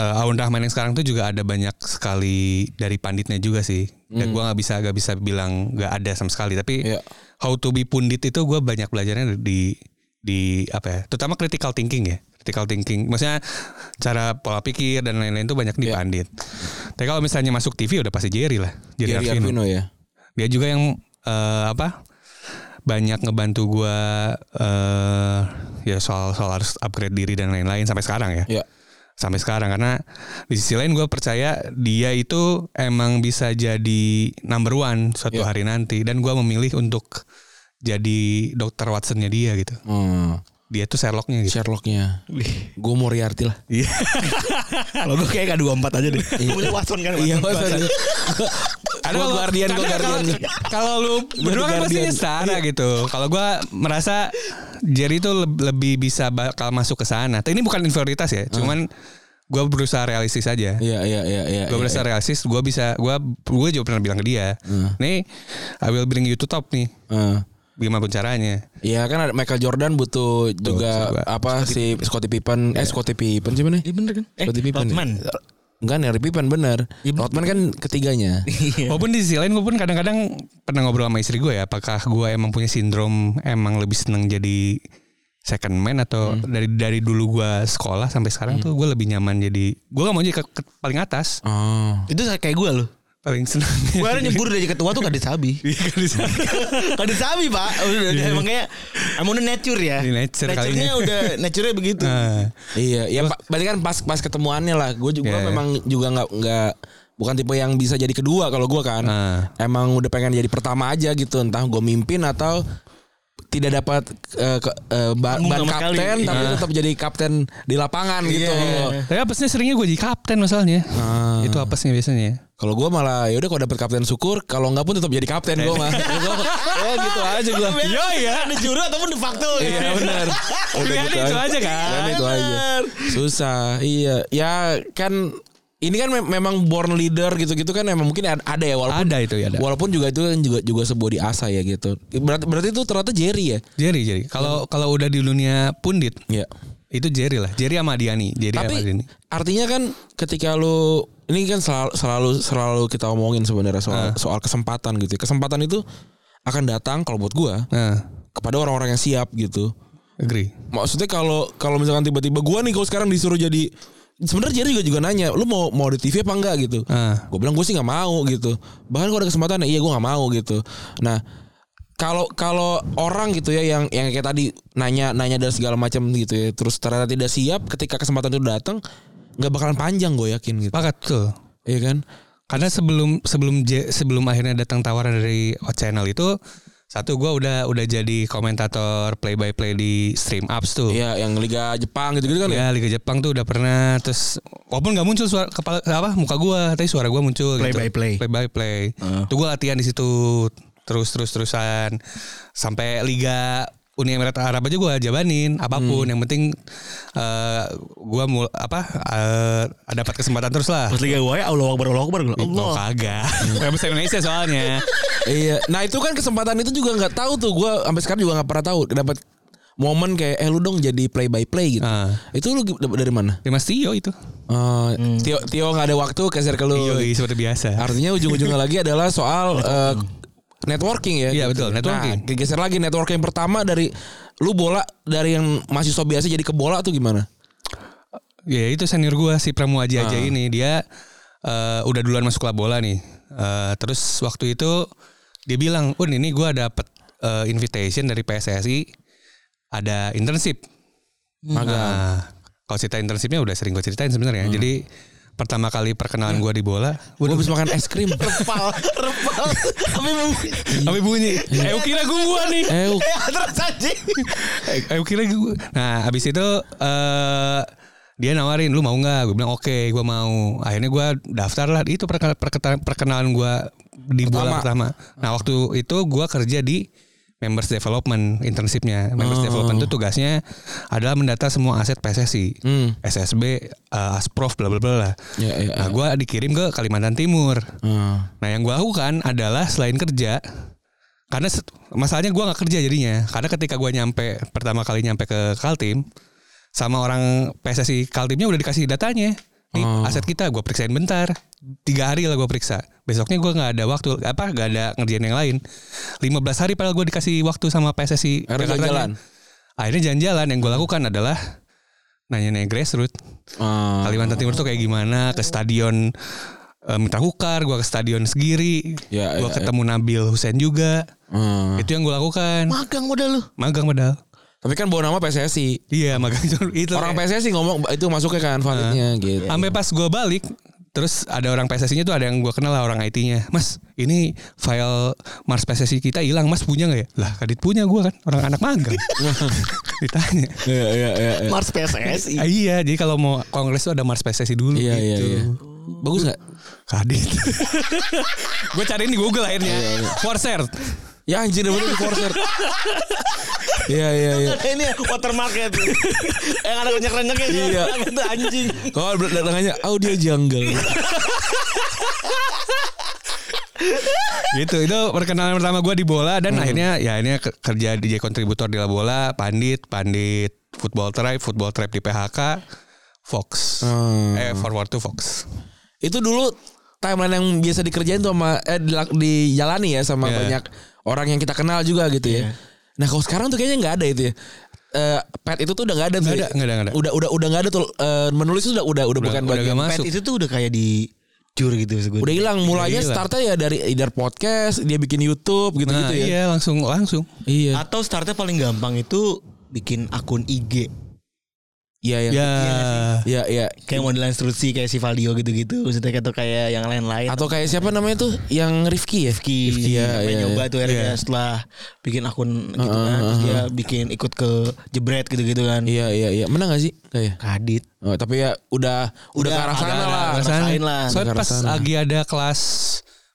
Speaker 2: eh, Aun Rahman yang sekarang tuh juga ada banyak sekali Dari Panditnya juga sih Dan gue gak bisa gak bisa bilang Gak ada sama sekali Tapi
Speaker 3: Iya.
Speaker 2: How to be pundit itu gue banyak belajarnya di di apa ya terutama critical thinking ya critical thinking maksudnya cara pola pikir dan lain-lain itu banyak di pandit tapi kalau misalnya masuk TV udah pasti Jerry lah Jerry,
Speaker 3: Jerry
Speaker 2: Arvino.
Speaker 3: Arvino ya
Speaker 2: dia juga yang eh, apa banyak ngebantu gue eh ya soal soal harus upgrade diri dan lain-lain sampai sekarang ya
Speaker 3: ya
Speaker 2: sampai sekarang karena di sisi lain gue percaya dia itu emang bisa jadi number one suatu
Speaker 3: Iya.
Speaker 2: hari nanti dan gue memilih untuk jadi dokter Watsonnya dia gitu
Speaker 3: hmm.
Speaker 2: dia tuh Sherlocknya gitu
Speaker 3: Sherlocknya gue Moriarty lah
Speaker 2: Iya.
Speaker 4: Kalau gue kayak gak 24 aja deh. Gue Watson kan.
Speaker 3: iya
Speaker 4: Watson.
Speaker 2: Karena
Speaker 3: Gua
Speaker 2: kalau-
Speaker 3: guardian gue
Speaker 2: karena
Speaker 3: guardian
Speaker 2: kalau- Kalau lu berdua kan pasti
Speaker 3: Guardian. Iya.
Speaker 2: setara gitu. Kalau gue merasa Jerry tuh leb- lebih bisa bakal masuk ke sana. Tapi Ini bukan inferioritas ya, cuman gue berusaha realistis aja.
Speaker 3: iya iya iya iya
Speaker 2: gue
Speaker 3: iya.
Speaker 2: merasa realistis gue bisa gue gue juga pernah bilang ke dia nih I will bring you to top nih
Speaker 3: Hmm.
Speaker 2: gimana pun caranya
Speaker 3: Iya kan ada Michael Jordan butuh juga
Speaker 2: coba.
Speaker 3: apa si Scottie Pippen eh Scottie Pippen sih mana?
Speaker 4: Iya bener kan? Eh,
Speaker 3: Scottie Pippen.
Speaker 4: Rodman.
Speaker 3: Enggak Larry Pippen bener. Rodman kan ketiganya.
Speaker 4: Iya.
Speaker 2: walaupun di sisi lain gue pun kadang-kadang pernah ngobrol sama istri gue ya apakah gue emang punya sindrom emang lebih seneng jadi second man atau dari dari dulu gue sekolah sampai sekarang tuh gue lebih nyaman jadi gue gak mau jadi ke- ke- paling atas
Speaker 3: oh.
Speaker 4: Itu kayak gue loh.
Speaker 2: paling seneng
Speaker 4: Gue ada nyebur dari ketua tuh kades sabi. kades sabi pak. Udah, udah, emang kayak emang udah Iya. nature Ah. ya.
Speaker 2: Di nature
Speaker 4: Nature-nya
Speaker 2: kalinya.
Speaker 4: udah nature-nya begitu.
Speaker 2: Nah,
Speaker 3: Iya, ya pa- berarti kan pas pas ketemuannya lah. Gue juga
Speaker 2: Iya, iya.
Speaker 3: memang juga nggak nggak bukan tipe yang bisa jadi kedua kalau gue kan.
Speaker 2: Ah.
Speaker 3: Emang udah pengen jadi pertama aja gitu, entah gue mimpin atau tidak dapat eh, ke- eh, ba-
Speaker 4: Tanggung
Speaker 3: ban
Speaker 4: sama sekali.
Speaker 3: kapten tapi tetap jadi kapten di lapangan gitu.
Speaker 2: tapi apesnya seringnya gue jadi kapten masalahnya itu apesnya biasanya
Speaker 3: Kalau gue malah ya udah kalau dapet kapten syukur, kalau nggak pun tetap jadi kapten gue mah. Gua- ya gitu aja gue.
Speaker 4: Iya ya. Ada juru ataupun de facto.
Speaker 3: Iya benar. Udah
Speaker 2: Pilihannya itu aja kan?
Speaker 3: Pilihannya itu aja. Susah. Iya. Ya kan ini kan mem- memang born leader gitu-gitu kan emang mungkin ad- ada ya walaupun
Speaker 2: ada itu ya ada
Speaker 3: walaupun juga itu kan juga juga sebuah diasah ya gitu. Berarti berarti itu ternyata Jerry ya.
Speaker 2: Jerry Jerry kalau kalau udah di dunia pundit
Speaker 3: Iya.
Speaker 2: Itu Jerry lah. Jerry sama Diani. Jerry sama
Speaker 3: Tapi
Speaker 2: Diani.
Speaker 3: artinya kan ketika lu ini kan selalu selalu selalu kita omongin
Speaker 2: Ah.
Speaker 3: sebenarnya soal soal kesempatan gitu. ya. Kesempatan itu akan datang kalau buat gua
Speaker 2: Nah,
Speaker 3: kepada orang-orang yang siap gitu.
Speaker 2: agree.
Speaker 3: Maksudnya kalau kalau misalkan tiba-tiba gua nih kalau sekarang disuruh jadi sebenarnya Jerry juga juga nanya, lu mau mau di TV apa enggak gitu.
Speaker 2: Ah.
Speaker 3: Gue bilang gue sih nggak mau gitu. Bahkan kalau ada kesempatan ya iya gue nggak mau gitu. Nah kalau kalau orang gitu ya yang yang kayak tadi nanya nanya dan segala macam gitu ya, terus ternyata tidak siap ketika kesempatan itu datang nggak bakalan panjang gue yakin gitu.
Speaker 2: Pakat tuh.
Speaker 3: Iya kan?
Speaker 2: Karena sebelum sebelum J- sebelum akhirnya datang tawaran dari channel itu satu gua udah udah jadi komentator play by play di stream apps tuh.
Speaker 3: Iya yang Liga Jepang gitu gitu kan ya.
Speaker 2: Ya Liga Jepang tuh udah pernah terus walaupun nggak muncul suara kepala apa muka gua tapi suara gua muncul
Speaker 4: Play
Speaker 2: gitu.
Speaker 4: by play.
Speaker 2: Play by play.
Speaker 3: Uh.
Speaker 2: Tuh gua latihan di situ terus terus terusan sampai Liga Uni Emirat Arab aja gua jabanin apapun
Speaker 3: Hmm.
Speaker 2: yang penting eh, gua mul apa eh, dapat kesempatan terus lah.
Speaker 4: Pas liga gue ya Allah Akbar Allah Akbar gua,
Speaker 2: Oh,
Speaker 4: Allah.
Speaker 2: kagak. Kayak bahasa Indonesia soalnya.
Speaker 3: Iya. Nah itu kan kesempatan itu juga nggak tahu tuh gue sampai sekarang juga nggak pernah tahu dapat momen kayak eh lu dong jadi play by play gitu.
Speaker 2: Ah.
Speaker 3: Itu lu dapat dari mana?
Speaker 2: Dimas Ya, Tio itu.
Speaker 3: Eh, Tio Tio nggak ada waktu keser ke lu.
Speaker 2: Yoi, seperti biasa.
Speaker 3: Artinya ujung-ujungnya lagi adalah soal eh, networking ya.
Speaker 2: Iya, betul,
Speaker 3: gitu.
Speaker 2: networking.
Speaker 3: Nah, geser lagi networking pertama dari lu bola dari yang masih so biasa jadi ke bola tuh gimana?
Speaker 2: Ya itu senior gua si Pramu Aji Aja ini dia eh, udah duluan masuk klub bola nih. Eh, terus waktu itu dia bilang, "Un, ini gua dapet eh, invitation dari PSSI ada internship." Nah, kalau cerita internshipnya udah sering gue ceritain sebenarnya. Jadi pertama kali perkenalan gua di bola,
Speaker 3: Gue
Speaker 2: waduh,
Speaker 3: habis makan es krim. Repal, repal.
Speaker 2: sampai bunyi. Eh, kira gua nih.
Speaker 3: Eh,
Speaker 4: Ya,
Speaker 5: Terus anjing.
Speaker 2: Aku kira gue. Nah, abis itu eh dia nawarin lu mau nggak? Gue bilang oke, gue mau. Akhirnya gue daftar lah. Itu perke- perketa- perkenalan gue di bola pertama. Nah, waktu itu gue kerja di members development internshipnya. Members
Speaker 3: Oh.
Speaker 2: development itu tugasnya adalah mendata semua aset PSSI, SSB, eh, Asprof, bla bla bla. lah.
Speaker 3: Hmm. Ya, ya,
Speaker 2: Nah, gue dikirim ke Kalimantan Timur.
Speaker 3: Ah,
Speaker 2: Nah yang gue lakukan adalah selain kerja karena set- masalahnya gue nggak kerja jadinya karena ketika gue nyampe pertama kali nyampe ke Kaltim sama orang PSSI Kaltimnya udah dikasih datanya nih aset kita gue periksain bentar tiga hari lah gue periksa besoknya gue nggak ada waktu apa nggak ada ngerjain yang lain 15 hari padahal gue dikasih waktu sama PSSI Jakartanya.
Speaker 3: Akhirnya jalan-jalan.
Speaker 2: akhirnya jalan-jalan yang gue lakukan adalah nanya-nanya grassroots Oh.
Speaker 3: Ah,
Speaker 2: Kalimantan Timur tuh kayak gimana ke stadion eh, Mitra Kukar, gua ke stadion Segiri,
Speaker 3: Ya,
Speaker 2: gua
Speaker 3: ya,
Speaker 2: ketemu Nabil Hussein juga.
Speaker 3: ah.
Speaker 2: Itu yang gua lakukan.
Speaker 4: Magang modal lu.
Speaker 2: Magang padahal.
Speaker 3: Tapi kan bawa nama PSSI.
Speaker 2: Iya, magang dulu. itu.
Speaker 3: Orang PSSI ngomong itu masuknya kan
Speaker 2: Ah.
Speaker 3: validnya gitu.
Speaker 2: Sampai pas gua balik Terus ada orang PSSI-nya tuh ada yang gua kenal lah orang IT-nya. Mas, ini file Mars PSSI kita hilang, Mas punya nggak ya? Lah, kadit punya gua kan, orang anak magang. Ditanya.
Speaker 3: Iya, iya, iya. iya.
Speaker 4: Mars PSSI.
Speaker 2: Ah, iya, jadi kalau mau kongres tuh ada Mars PSSI dulu
Speaker 3: Iya, iya,
Speaker 2: gitu.
Speaker 3: iya. Bagus nggak?
Speaker 2: Kadit. gue cariin di Google akhirnya. For sale.
Speaker 3: Ya anjir bener di Corsair. Iya, iya, iya.
Speaker 4: Ini watermark ya tuh. Yang ada renyek-renyek ya.
Speaker 3: Iya.
Speaker 4: Itu anjing.
Speaker 3: Kalau datangannya audio jungle.
Speaker 2: gitu itu perkenalan pertama gue di bola dan akhirnya ya ini ke- kerja DJ kontributor di La bola pandit pandit football tribe football tribe di PHK Fox
Speaker 3: Hmm.
Speaker 2: eh forward to Fox
Speaker 3: itu dulu timeline yang biasa dikerjain tuh sama eh dilak- dijalani ya sama
Speaker 2: Iya.
Speaker 3: banyak orang yang kita kenal juga gitu ya. Nah kalau sekarang tuh kayaknya nggak ada itu ya. Eh, pet itu tuh udah nggak ada tuh.
Speaker 2: Nggak ada,
Speaker 3: ya.
Speaker 2: nggak ada, nggak ada.
Speaker 3: Udah udah udah nggak ada tuh eh, menulis itu udah udah udah bukan
Speaker 2: udah
Speaker 3: bagian.
Speaker 2: nggak
Speaker 4: Pet
Speaker 2: masuk
Speaker 4: itu tuh udah kayak di jur gitu maksud gue.
Speaker 3: Udah hilang mulanya
Speaker 2: hilang.
Speaker 3: startnya ya dari either podcast, dia bikin YouTube
Speaker 2: nah
Speaker 3: gitu-gitu ya.
Speaker 2: iya langsung langsung
Speaker 3: Iya.
Speaker 4: Atau startnya paling gampang itu bikin akun IG.
Speaker 3: Iya iya.
Speaker 2: ya
Speaker 3: Iya iya.
Speaker 4: Kayak model instruksi kayak si Valdio gitu-gitu. Maksudnya kayak atau kayak yang lain-lain.
Speaker 3: Atau kayak siapa namanya tuh yang Rifki ya?
Speaker 4: Rifki,
Speaker 3: Iya,
Speaker 4: sampai
Speaker 3: iya,
Speaker 4: nyoba
Speaker 3: iya.
Speaker 4: tuh akhirnya setelah bikin akun gitu kan, terus dia bikin ikut ke jebret gitu-gitu kan.
Speaker 3: Iya iya iya. Menang gak sih? Kayak.
Speaker 4: Kadit.
Speaker 3: Oh, tapi ya udah udah ke arah
Speaker 4: agak-
Speaker 3: sana lah.
Speaker 4: agak- Rasain
Speaker 2: Rasain.
Speaker 4: lah.
Speaker 2: soalnya
Speaker 3: Nggak
Speaker 2: pas
Speaker 3: Ah, rasain.
Speaker 2: lagi ada kelas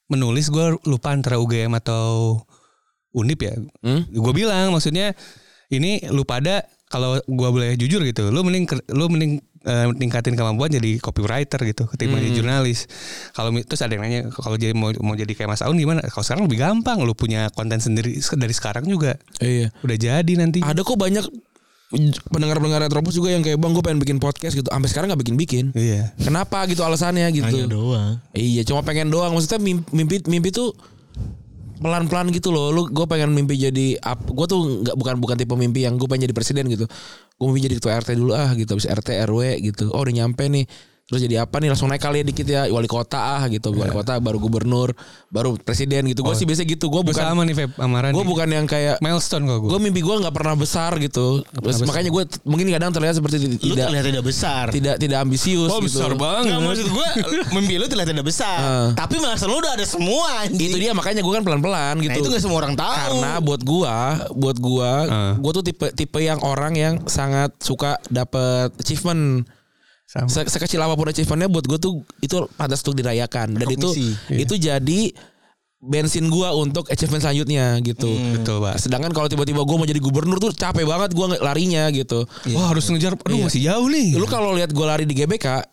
Speaker 2: menulis gue lupa antara UGM atau Unip ya
Speaker 3: Hmm?
Speaker 2: gue bilang maksudnya ini lu pada kalau gua boleh jujur gitu lu mending ker- lu mending eh, ningkatin kemampuan jadi copywriter gitu ketimbang jadi jurnalis kalau mi- terus ada yang nanya kalau jadi mau, mau jadi kayak Mas Aun gimana kalau sekarang lebih gampang lu punya konten sendiri se- dari sekarang juga
Speaker 3: Iya.
Speaker 2: udah jadi nanti
Speaker 3: ada kok banyak pendengar-pendengar Retropus juga yang kayak bang gue pengen bikin podcast gitu sampai sekarang nggak bikin bikin
Speaker 2: Iya.
Speaker 3: kenapa gitu alasannya
Speaker 4: Hanya
Speaker 3: gitu
Speaker 4: doang.
Speaker 3: iya cuma pengen doang maksudnya mim- mimpi mimpi tuh pelan-pelan gitu loh lu gue pengen mimpi jadi up gue tuh nggak bukan bukan tipe mimpi yang gue pengen jadi presiden gitu gue mimpi jadi ketua rt dulu ah gitu habis rt rw gitu oh udah nyampe nih terus jadi apa nih langsung naik kali ya dikit ya wali kota ah gitu wali kota baru gubernur baru presiden gitu gue sih biasa gitu gue
Speaker 2: Gue
Speaker 3: bukan
Speaker 2: sama nih Feb Amaran.
Speaker 3: gue bukan yang kayak
Speaker 2: milestone kalau gue.
Speaker 3: gue mimpi gue nggak pernah besar gitu makanya gue t- mungkin kadang terlihat seperti ti-
Speaker 4: Lu
Speaker 3: tidak
Speaker 4: terlihat tidak besar.
Speaker 3: tidak tidak ambisius
Speaker 2: Oh,
Speaker 3: gitu
Speaker 2: besar banget.
Speaker 4: Nggak, maksud gue mimpi lu terlihat tidak besar.
Speaker 3: Ah.
Speaker 4: Tapi masa lu udah ada semua anjing.
Speaker 3: itu dia makanya gue kan pelan pelan gitu
Speaker 4: Nah, itu gak semua orang tahu.
Speaker 3: karena buat gua buat gua
Speaker 2: Eh.
Speaker 3: gua tuh tipe tipe yang orang yang sangat suka dapat achievement
Speaker 2: Sama.
Speaker 3: Se- sekecil apapun achievementnya buat gua tuh itu pantas untuk dirayakan dan itu
Speaker 5: Rekognisi.
Speaker 3: itu jadi bensin gua untuk achievement selanjutnya gitu
Speaker 2: Betul, Pak.
Speaker 3: sedangkan kalau tiba-tiba gua mau jadi gubernur tuh capek banget gua nge- larinya gitu
Speaker 2: Wah harus ngejar. Aduh masih jauh nih.
Speaker 3: lu kalau lihat gua lari di GBK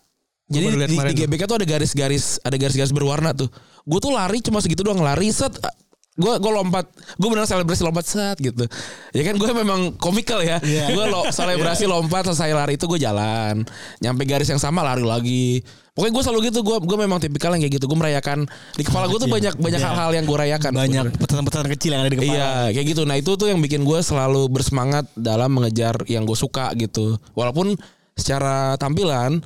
Speaker 3: jadi
Speaker 2: Iya. baru lihat
Speaker 3: di,
Speaker 2: kemarin
Speaker 3: di GBK tuh ada garis-garis ada garis-garis berwarna tuh Gua tuh lari cuma segitu doang lari set eh, Gua gue lompat gue benar selebrasi lompat set gitu ya kan gue memang komikal ya
Speaker 2: Iya.
Speaker 3: Gua gue lo selebrasi lompat selesai lari itu gue jalan nyampe garis yang sama lari lagi pokoknya gue selalu gitu gue gue memang tipikal yang kayak gitu gue merayakan di kepala
Speaker 2: Iya.
Speaker 3: gue tuh banyak banyak hal-hal yang gue rayakan
Speaker 4: banyak pesan-pesan kecil yang ada di kepala.
Speaker 3: Iya kayak gitu. Nah itu tuh yang bikin gue selalu bersemangat dalam mengejar yang gue suka gitu. Walaupun secara tampilan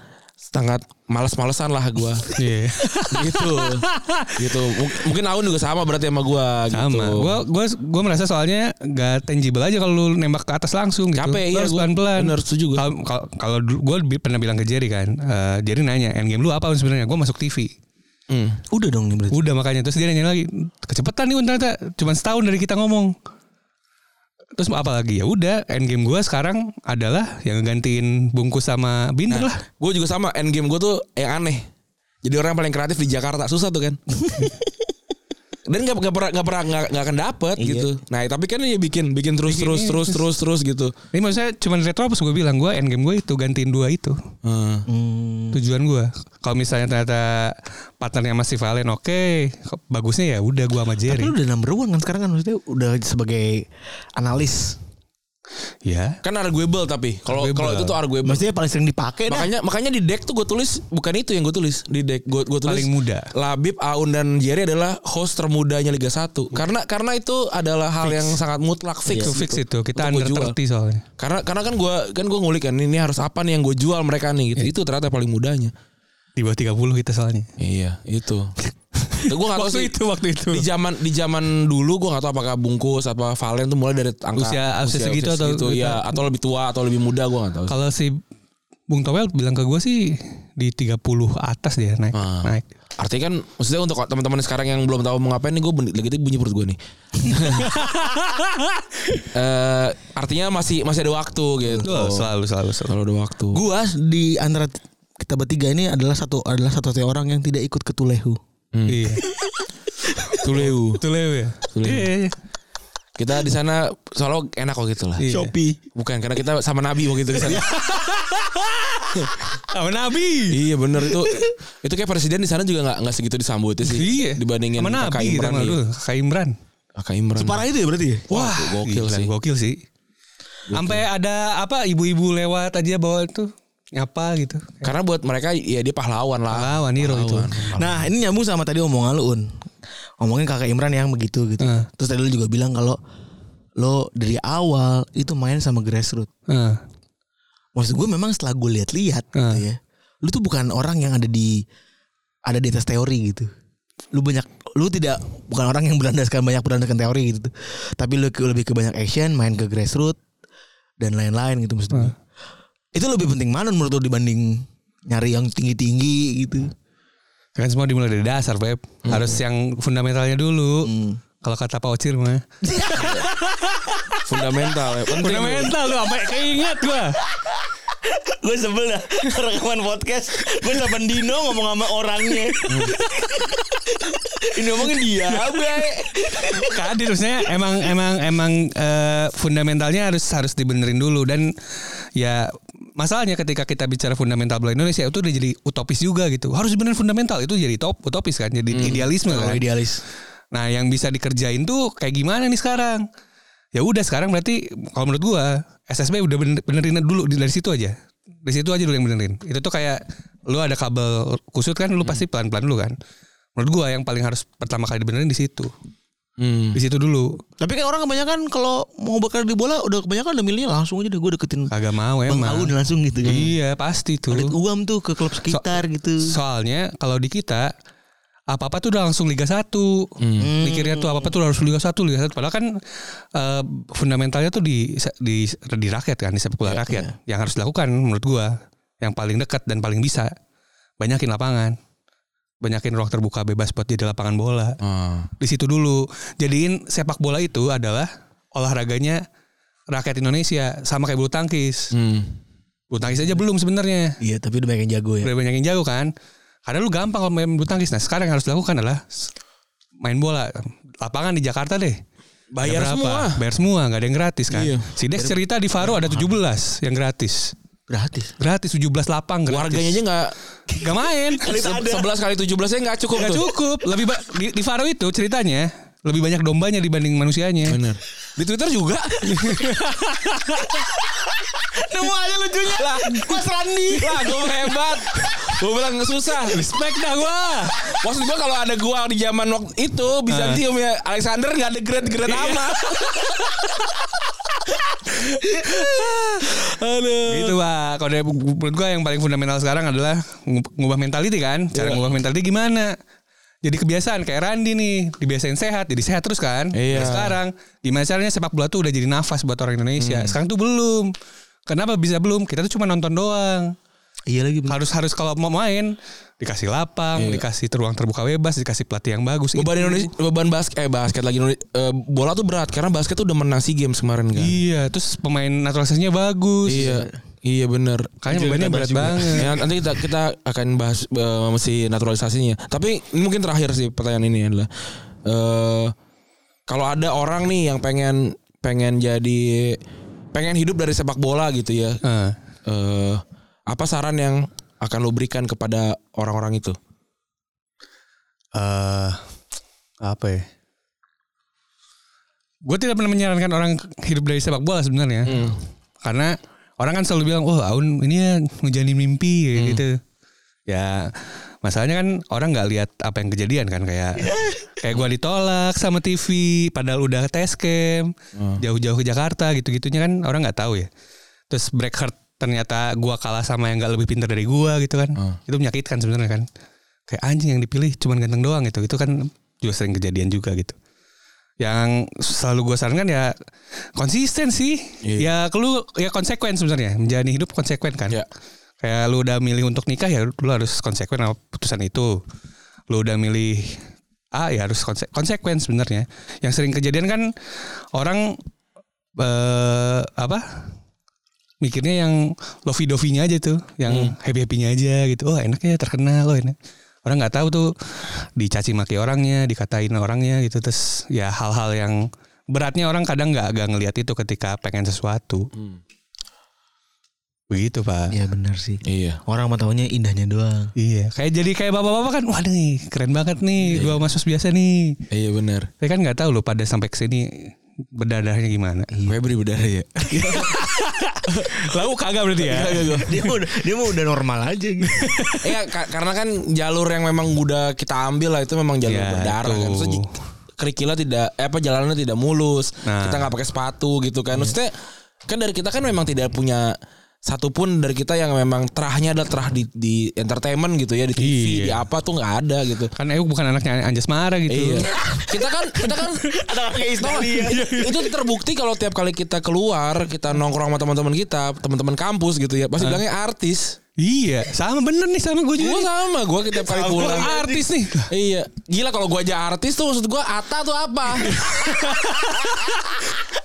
Speaker 3: sangat males-malesan lah gue.
Speaker 2: Iya.
Speaker 3: gitu. gitu. Mung- Mungkin Aun juga sama berarti sama gue. Gitu.
Speaker 2: Sama. Gue gue gue merasa soalnya gak tangible aja kalau lu nembak ke atas langsung gitu.
Speaker 3: Capek,
Speaker 2: Lu
Speaker 3: iya,
Speaker 2: harus
Speaker 3: gua
Speaker 2: pelan-pelan.
Speaker 3: bener, setuju gua.
Speaker 2: Kalau- Kalau kalau gue pernah bilang ke Jerry kan, eh, Jerry nanya, endgame lu apa sebenarnya? Gue masuk TV.
Speaker 3: Hmm.
Speaker 4: Udah dong nih berarti.
Speaker 2: Udah makanya terus dia nanya lagi, kecepatan nih Un, ternyata cuman setahun dari kita ngomong. Terus mau apa lagi? Ya udah, endgame gue sekarang adalah yang gantiin bungkus sama binder lah.
Speaker 3: Gue juga sama. Endgame gue tuh yang aneh. Jadi orang yang paling kreatif di Jakarta susah tuh kan. Dan gak, gak pernah gak pernah gak, gak akan dapet gitu. Nah tapi kan dia bikin bikin terus
Speaker 2: Iya. Bikin
Speaker 3: terus
Speaker 2: ini,
Speaker 3: terus terus terus gitu.
Speaker 2: Ini maksudnya cuman retro pas gue bilang gue endgame gue itu gantiin dua itu
Speaker 3: Hmm.
Speaker 2: tujuan gue. Kalau misalnya ternyata partnernya masih Valen oke, bagusnya ya udah gue sama
Speaker 4: Tapi
Speaker 2: Jerry.
Speaker 4: lu udah number one kan sekarang kan maksudnya udah sebagai analis.
Speaker 2: Ya.
Speaker 3: Kan arguable tapi kalau
Speaker 2: Arguable.
Speaker 3: kalau itu tuh arguable.
Speaker 4: Maksudnya paling sering dipakai dah.
Speaker 3: Iya, Makanya makanya di deck tuh gue tulis bukan itu yang gue tulis di deck gue gue tulis
Speaker 2: Paling muda.
Speaker 3: Labib Aun dan Jerry adalah host termudanya Liga 1 karena karena itu adalah hal yang sangat mutlak fix
Speaker 2: Itu Iya, fix itu kita under
Speaker 3: Untuk gua jual.
Speaker 2: 30 soalnya.
Speaker 3: karena karena kan gue kan gue ngulik kan ini harus apa nih yang gue jual mereka
Speaker 2: Iya.
Speaker 3: nih gitu itu ternyata paling mudanya
Speaker 2: Di bawah 30 kita soalnya.
Speaker 3: iya itu gue gak tahu
Speaker 2: Waktu
Speaker 3: sih
Speaker 2: itu waktu itu.
Speaker 3: di zaman di zaman dulu gue gak tahu apakah bungkus apa Valen tuh mulai dari angka
Speaker 2: Usia- usia segitu atau-
Speaker 3: ya atau lebih tua atau lebih muda gue gak tahu
Speaker 2: Kalau si Bung Towel bilang ke gue sih di 30 atas dia naik
Speaker 3: Ah.
Speaker 2: naik.
Speaker 3: Artinya kan maksudnya untuk teman-teman sekarang yang belum tahu mau ngapain nih gue lagi itu bunyi perut gue nih. Eh artinya masih masih ada waktu gitu.
Speaker 2: Betul, selalu selalu selalu.
Speaker 3: Kalau ada waktu.
Speaker 4: Gua di antara t- kita bertiga ini adalah satu adalah satu satunya orang yang tidak ikut ke Tulehu.
Speaker 3: Hmm.
Speaker 2: Iya.
Speaker 3: Tuleu.
Speaker 2: Tulew ya. Iya, iya, iya.
Speaker 3: Kita di sana selalu enak kok gitu lah.
Speaker 2: Iya.
Speaker 5: Shopee.
Speaker 3: Bukan karena kita sama Nabi waktu itu di sana.
Speaker 2: Sama Nabi.
Speaker 3: iya bener itu itu kayak presiden di sana juga nggak nggak segitu disambutnya sih.
Speaker 2: Iya.
Speaker 3: Dibandingin
Speaker 2: sama Nabi kita
Speaker 3: Imran.
Speaker 2: malah
Speaker 3: iya.
Speaker 2: dulu, Kakak Imran.
Speaker 3: Kakak Imran.
Speaker 5: Parah itu ya berarti ya?
Speaker 2: Wah,
Speaker 3: gokil
Speaker 2: gila,
Speaker 3: sih.
Speaker 2: Gokil sih. Sampai ada apa ibu-ibu lewat aja bawa tuh nyapa gitu.
Speaker 3: Karena buat mereka ya dia pahlawan lah.
Speaker 2: Lawan hero itu.
Speaker 4: Nah ini nyambung sama tadi omongan lu Un. Ngomongin kakak Imran yang begitu gitu.
Speaker 2: Eh.
Speaker 4: Terus tadi lu juga bilang kalau lo dari awal itu main sama grassroots.
Speaker 2: Heeh.
Speaker 4: Maksud gue memang setelah gue lihat-lihat gitu ya. Lu tuh bukan orang yang ada di ada di atas teori gitu. Lu banyak lu tidak bukan orang yang berlandaskan banyak berlandaskan teori gitu. Tapi lu ke- lebih ke banyak action, main ke grassroots dan lain-lain gitu maksud gue. Itu lebih penting mana menurut lu dibanding nyari yang tinggi-tinggi gitu.
Speaker 2: Kan semua dimulai dari dasar, Beb.
Speaker 3: Hmm.
Speaker 2: Harus yang fundamentalnya dulu. Kalau kata Pak Ocir mah.
Speaker 3: Fundamental. ya. Penting.
Speaker 2: Fundamental lu sampai keinget gua.
Speaker 4: gue sebel dah rekaman podcast gue sama Dino ngomong sama orangnya ini ngomongin dia
Speaker 2: Tadi terusnya emang emang emang eh, fundamentalnya harus harus dibenerin dulu dan ya masalahnya ketika kita bicara fundamental bola Indonesia itu udah jadi utopis juga gitu. Harus benerin fundamental itu jadi top utopis kan, jadi
Speaker 3: Hmm.
Speaker 2: idealisme
Speaker 3: Oh,
Speaker 2: kan.
Speaker 4: idealis
Speaker 2: Nah, yang bisa dikerjain tuh kayak gimana nih sekarang? Ya udah sekarang berarti kalau menurut gua SSB udah bener- benerin dulu di- dari situ aja. Dari situ aja dulu yang benerin. Itu tuh kayak lu ada kabel kusut kan lu pasti
Speaker 4: Hmm.
Speaker 2: pelan-pelan dulu kan. Menurut gua yang paling harus pertama kali dibenerin di situ.
Speaker 3: Hmm.
Speaker 4: Hmm.
Speaker 2: Di situ dulu.
Speaker 4: Tapi kan orang kebanyakan kalau mau bekerja di bola udah kebanyakan udah milihnya langsung aja deh gue deketin
Speaker 2: Kagak mau
Speaker 4: Bang
Speaker 2: emang.
Speaker 4: Aun langsung gitu kan.
Speaker 2: Iya, pasti tuh.
Speaker 4: Alit uam tuh ke klub sekitar gitu.
Speaker 2: Soalnya kalau di kita apa-apa tuh udah langsung Liga 1. Mikirnya tuh apa-apa tuh harus Liga 1, Liga 1. Padahal kan eh, fundamentalnya tuh di di di rakyat kan, di sepak bola rakyat. Yang harus dilakukan menurut gua yang paling dekat dan paling bisa banyakin lapangan. Banyakin ruang terbuka bebas buat jadi lapangan bola.
Speaker 3: Ah.
Speaker 2: Di situ dulu. Jadiin sepak bola itu adalah olahraganya rakyat Indonesia sama kayak bulu
Speaker 3: Hmm.
Speaker 2: tangkis. Bulu tangkis aja belum sebenarnya.
Speaker 4: Iya, tapi udah banyak yang jago ya.
Speaker 2: Udah banyak yang jago kan. Karena lu gampang kalau main bulu tangkis. Nah sekarang yang harus dilakukan adalah s- main bola. Lapangan di Jakarta deh. Ada
Speaker 3: Bayar semua.
Speaker 2: Bayar semua, gak ada yang gratis kan.
Speaker 3: Iya.
Speaker 2: Si Dex cerita di Faro ada 17 yang gratis.
Speaker 4: Gratis.
Speaker 2: Gratis 17 lapang gratis.
Speaker 3: Warganya aja nggak
Speaker 2: Gak main.
Speaker 3: sebelas kali tujuh belasnya Kan nggak cukup
Speaker 2: Gak
Speaker 3: tuh.
Speaker 2: cukup. Lebih ba- di, di Faro itu ceritanya lebih banyak dombanya dibanding manusianya.
Speaker 3: Bener. Di Twitter juga.
Speaker 4: Nemu aja lucunya.
Speaker 3: lah, Mas Randi. Lah, gue hebat. Gue bilang susah. Respect dah gue. Maksud gue kalau ada gua di zaman waktu itu Bizantium ya Alexander nggak ada grade grade nama. Aduh.
Speaker 2: Gitu pak. Kalau dari menurut gua yang paling fundamental sekarang adalah ngub- ngubah mentality kan. Cara
Speaker 3: Iya.
Speaker 2: ngubah mentality gimana? Jadi kebiasaan kayak Randi nih dibiasain sehat, jadi sehat terus kan.
Speaker 3: Iya.
Speaker 2: Nah, sekarang gimana caranya sepak bola tuh udah jadi nafas buat orang
Speaker 3: Hmm.
Speaker 2: Indonesia. Sekarang tuh belum. Kenapa bisa belum? Kita tuh cuma nonton doang.
Speaker 4: Iya lagi. bener.
Speaker 2: Harus harus kalau mau main dikasih lapang, dikasih ruang terbuka bebas, dikasih pelatih yang bagus.
Speaker 3: Iya. Beban
Speaker 2: Itu.
Speaker 3: Indonesia, beban basket, eh basket lagi Indonesia, eh, bola tuh berat karena basket tuh udah menang si games kemarin kan.
Speaker 2: Iya, terus pemain naturalisasinya bagus.
Speaker 3: Iya, iya bener.
Speaker 2: Kayaknya
Speaker 3: Nanti
Speaker 2: bebannya
Speaker 3: kita
Speaker 2: berat
Speaker 3: bahas juga.
Speaker 2: banget.
Speaker 3: Ya, nanti kita kita akan bahas eh, mesti naturalisasinya. Tapi ini mungkin terakhir sih pertanyaan ini adalah eh kalau ada orang nih yang pengen pengen jadi pengen hidup dari sepak bola gitu ya.
Speaker 2: Heeh.
Speaker 3: Eh, apa saran yang akan lo berikan kepada orang-orang itu?
Speaker 2: eh apa ya? Gue tidak pernah menyarankan orang hidup dari sepak bola sebenarnya, karena orang kan selalu bilang, oh Aun ini ya ngejalanin mimpi kayak gitu. Ya masalahnya kan orang nggak lihat apa yang kejadian kan kayak kayak gue ditolak sama TV, padahal udah tes cam jauh-jauh ke Jakarta gitu-gitunya kan orang nggak tahu ya. Terus break heart ternyata gua kalah sama yang nggak lebih pintar dari gua gitu kan, itu menyakitkan sebenarnya kan kayak anjing yang dipilih cuman ganteng doang gitu itu kan juga sering kejadian juga gitu yang selalu gue sarankan ya konsisten sih ya lu ya konsekuen sebenarnya menjalani hidup konsekuen kan
Speaker 3: Iya.
Speaker 2: kayak lu udah milih untuk nikah ya lu harus konsekuen sama putusan itu lu udah milih A ya harus konse- konsekuen sebenarnya yang sering kejadian kan orang eh, apa mikirnya yang lovey dovinya aja tuh, yang happy happynya aja gitu. Oh enak ya terkenal loh enak. Orang nggak tahu tuh dicaci maki orangnya, dikatain orangnya gitu. Terus ya hal-hal yang beratnya orang kadang nggak nggak ngelihat itu ketika pengen sesuatu. Begitu pak.
Speaker 4: Iya benar sih.
Speaker 3: Iya.
Speaker 4: Orang mah taunya indahnya doang.
Speaker 2: Iya, kayak jadi kayak bapak-bapak kan, wah nih keren banget nih, gua masuk biasa nih.
Speaker 3: Iya benar.
Speaker 2: Saya kan nggak tahu loh pada sampai kesini bedadahnya gimana.
Speaker 3: Febri berdarah ya.
Speaker 2: Lalu kagak berarti ya?
Speaker 4: Iya, dia mau dia mau udah normal aja gitu.
Speaker 3: Iya ka- karena kan jalur yang memang udah kita ambil lah itu memang jalur
Speaker 2: Iya,
Speaker 3: berdarah kan.
Speaker 2: itu.
Speaker 3: Maksudnya j- kerikilnya tidak eh, apa jalanannya tidak mulus.
Speaker 2: Nah. Hmm.
Speaker 3: Kita nggak pakai sepatu gitu kan. Maksudnya kan dari kita kan memang tidak punya satupun dari kita yang memang terahnya adalah terah di, di entertainment gitu ya di TV
Speaker 2: Iya.
Speaker 3: di apa tuh nggak ada gitu.
Speaker 2: Kan Euk bukan anaknya Anjas Mara gitu.
Speaker 3: Iya. kita kan kita kan Tau gak?
Speaker 2: ya.
Speaker 3: itu terbukti kalau tiap kali kita keluar kita nongkrong sama teman-teman kita teman-teman kampus gitu ya pasti bilangnya artis
Speaker 2: Iya, sama bener nih sama gue juga.
Speaker 3: gue sama gue tiap kali
Speaker 2: Gua
Speaker 3: pulang
Speaker 2: artis nih.
Speaker 3: Iya, gila kalau gua aja artis tuh maksud gua Ata tuh apa?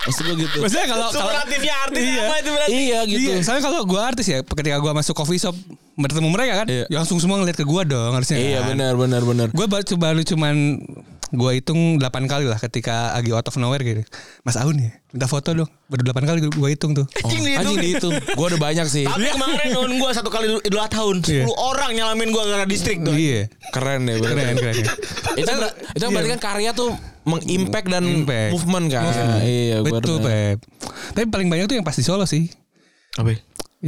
Speaker 3: maksud gua gitu.
Speaker 2: Maksudnya kalau kalau
Speaker 3: artis apa itu berarti? Iya gitu.
Speaker 2: Iya, soalnya kalau gue artis ya, ketika gue masuk coffee shop bertemu mereka kan,
Speaker 3: Iya.
Speaker 2: ya langsung semua ngeliat ke gue dong harusnya. Kan?
Speaker 3: Iya benar benar benar.
Speaker 2: Gue baru, baru cuman gue hitung 8 kali lah ketika lagi out of nowhere gitu. Mas Aun ya, minta foto dong. Baru 8 kali gue hitung tuh.
Speaker 3: Anjing dihitung. Oh. gitu. Gua udah banyak sih.
Speaker 4: Tapi kemarin nonton gue satu kali idul tahun 10 orang nyalamin gue karena distrik
Speaker 3: Oh,
Speaker 4: tuh.
Speaker 2: Iya.
Speaker 3: Keren ya bener.
Speaker 2: Keren, keren.
Speaker 3: Itu ber- itu berarti kan karya tuh mengimpact dan
Speaker 2: Impact.
Speaker 3: movement kan.
Speaker 2: Movement.
Speaker 3: Iya, gua
Speaker 2: Betul,
Speaker 3: bener.
Speaker 2: Pep. Tapi paling banyak tuh yang pasti Solo sih.
Speaker 4: Apa? ya?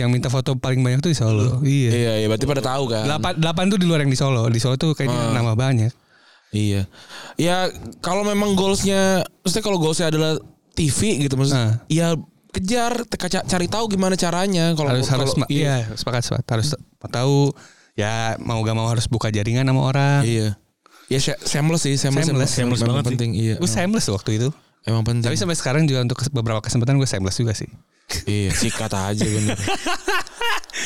Speaker 2: Yang minta foto paling banyak tuh di Solo. Iya.
Speaker 3: Iya, iya berarti pada tahu kan.
Speaker 2: Delapan, delapan tuh di luar yang di Solo. Di Solo tuh
Speaker 3: Ah.
Speaker 2: kayaknya nama banyak.
Speaker 3: Iya. Ya kalau memang goalsnya, maksudnya kalau goalsnya adalah TV gitu
Speaker 2: Ah.
Speaker 3: maksudnya, ya kejar, teka- ca- cari tahu gimana caranya. Kalau
Speaker 2: harus
Speaker 3: kalau-
Speaker 2: harus ma-
Speaker 3: iya.
Speaker 2: iya sepakat sepakat harus tahu ya mau gak mau harus buka jaringan sama orang.
Speaker 3: Iya. Ya se- shameless sih, shameless,
Speaker 2: Shameless,
Speaker 4: shameless
Speaker 3: memang
Speaker 4: banget sih.
Speaker 3: penting. Iya.
Speaker 2: Gue shameless waktu itu.
Speaker 3: Emang penting.
Speaker 2: Tapi sampai sekarang juga untuk kes- beberapa kesempatan gue shameless juga sih.
Speaker 3: iya, sikat aja bener.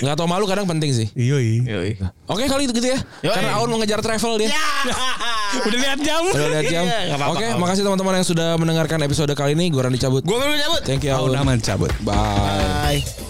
Speaker 3: Nggak tau malu kadang penting sih.
Speaker 2: Iya.
Speaker 3: Oke kalau itu gitu ya. Karena Aun mau ngejar travel dia.
Speaker 2: Ya. Udah lihat jam. Iya,
Speaker 3: Udah lihat jam. Oke, makasih teman-teman yang sudah mendengarkan episode kali ini. Gue Randy cabut.
Speaker 4: Gue baru nyabut.
Speaker 3: Thank you
Speaker 2: Tahun
Speaker 3: Aun.
Speaker 2: aman cabut.
Speaker 3: Bye.
Speaker 4: Bye.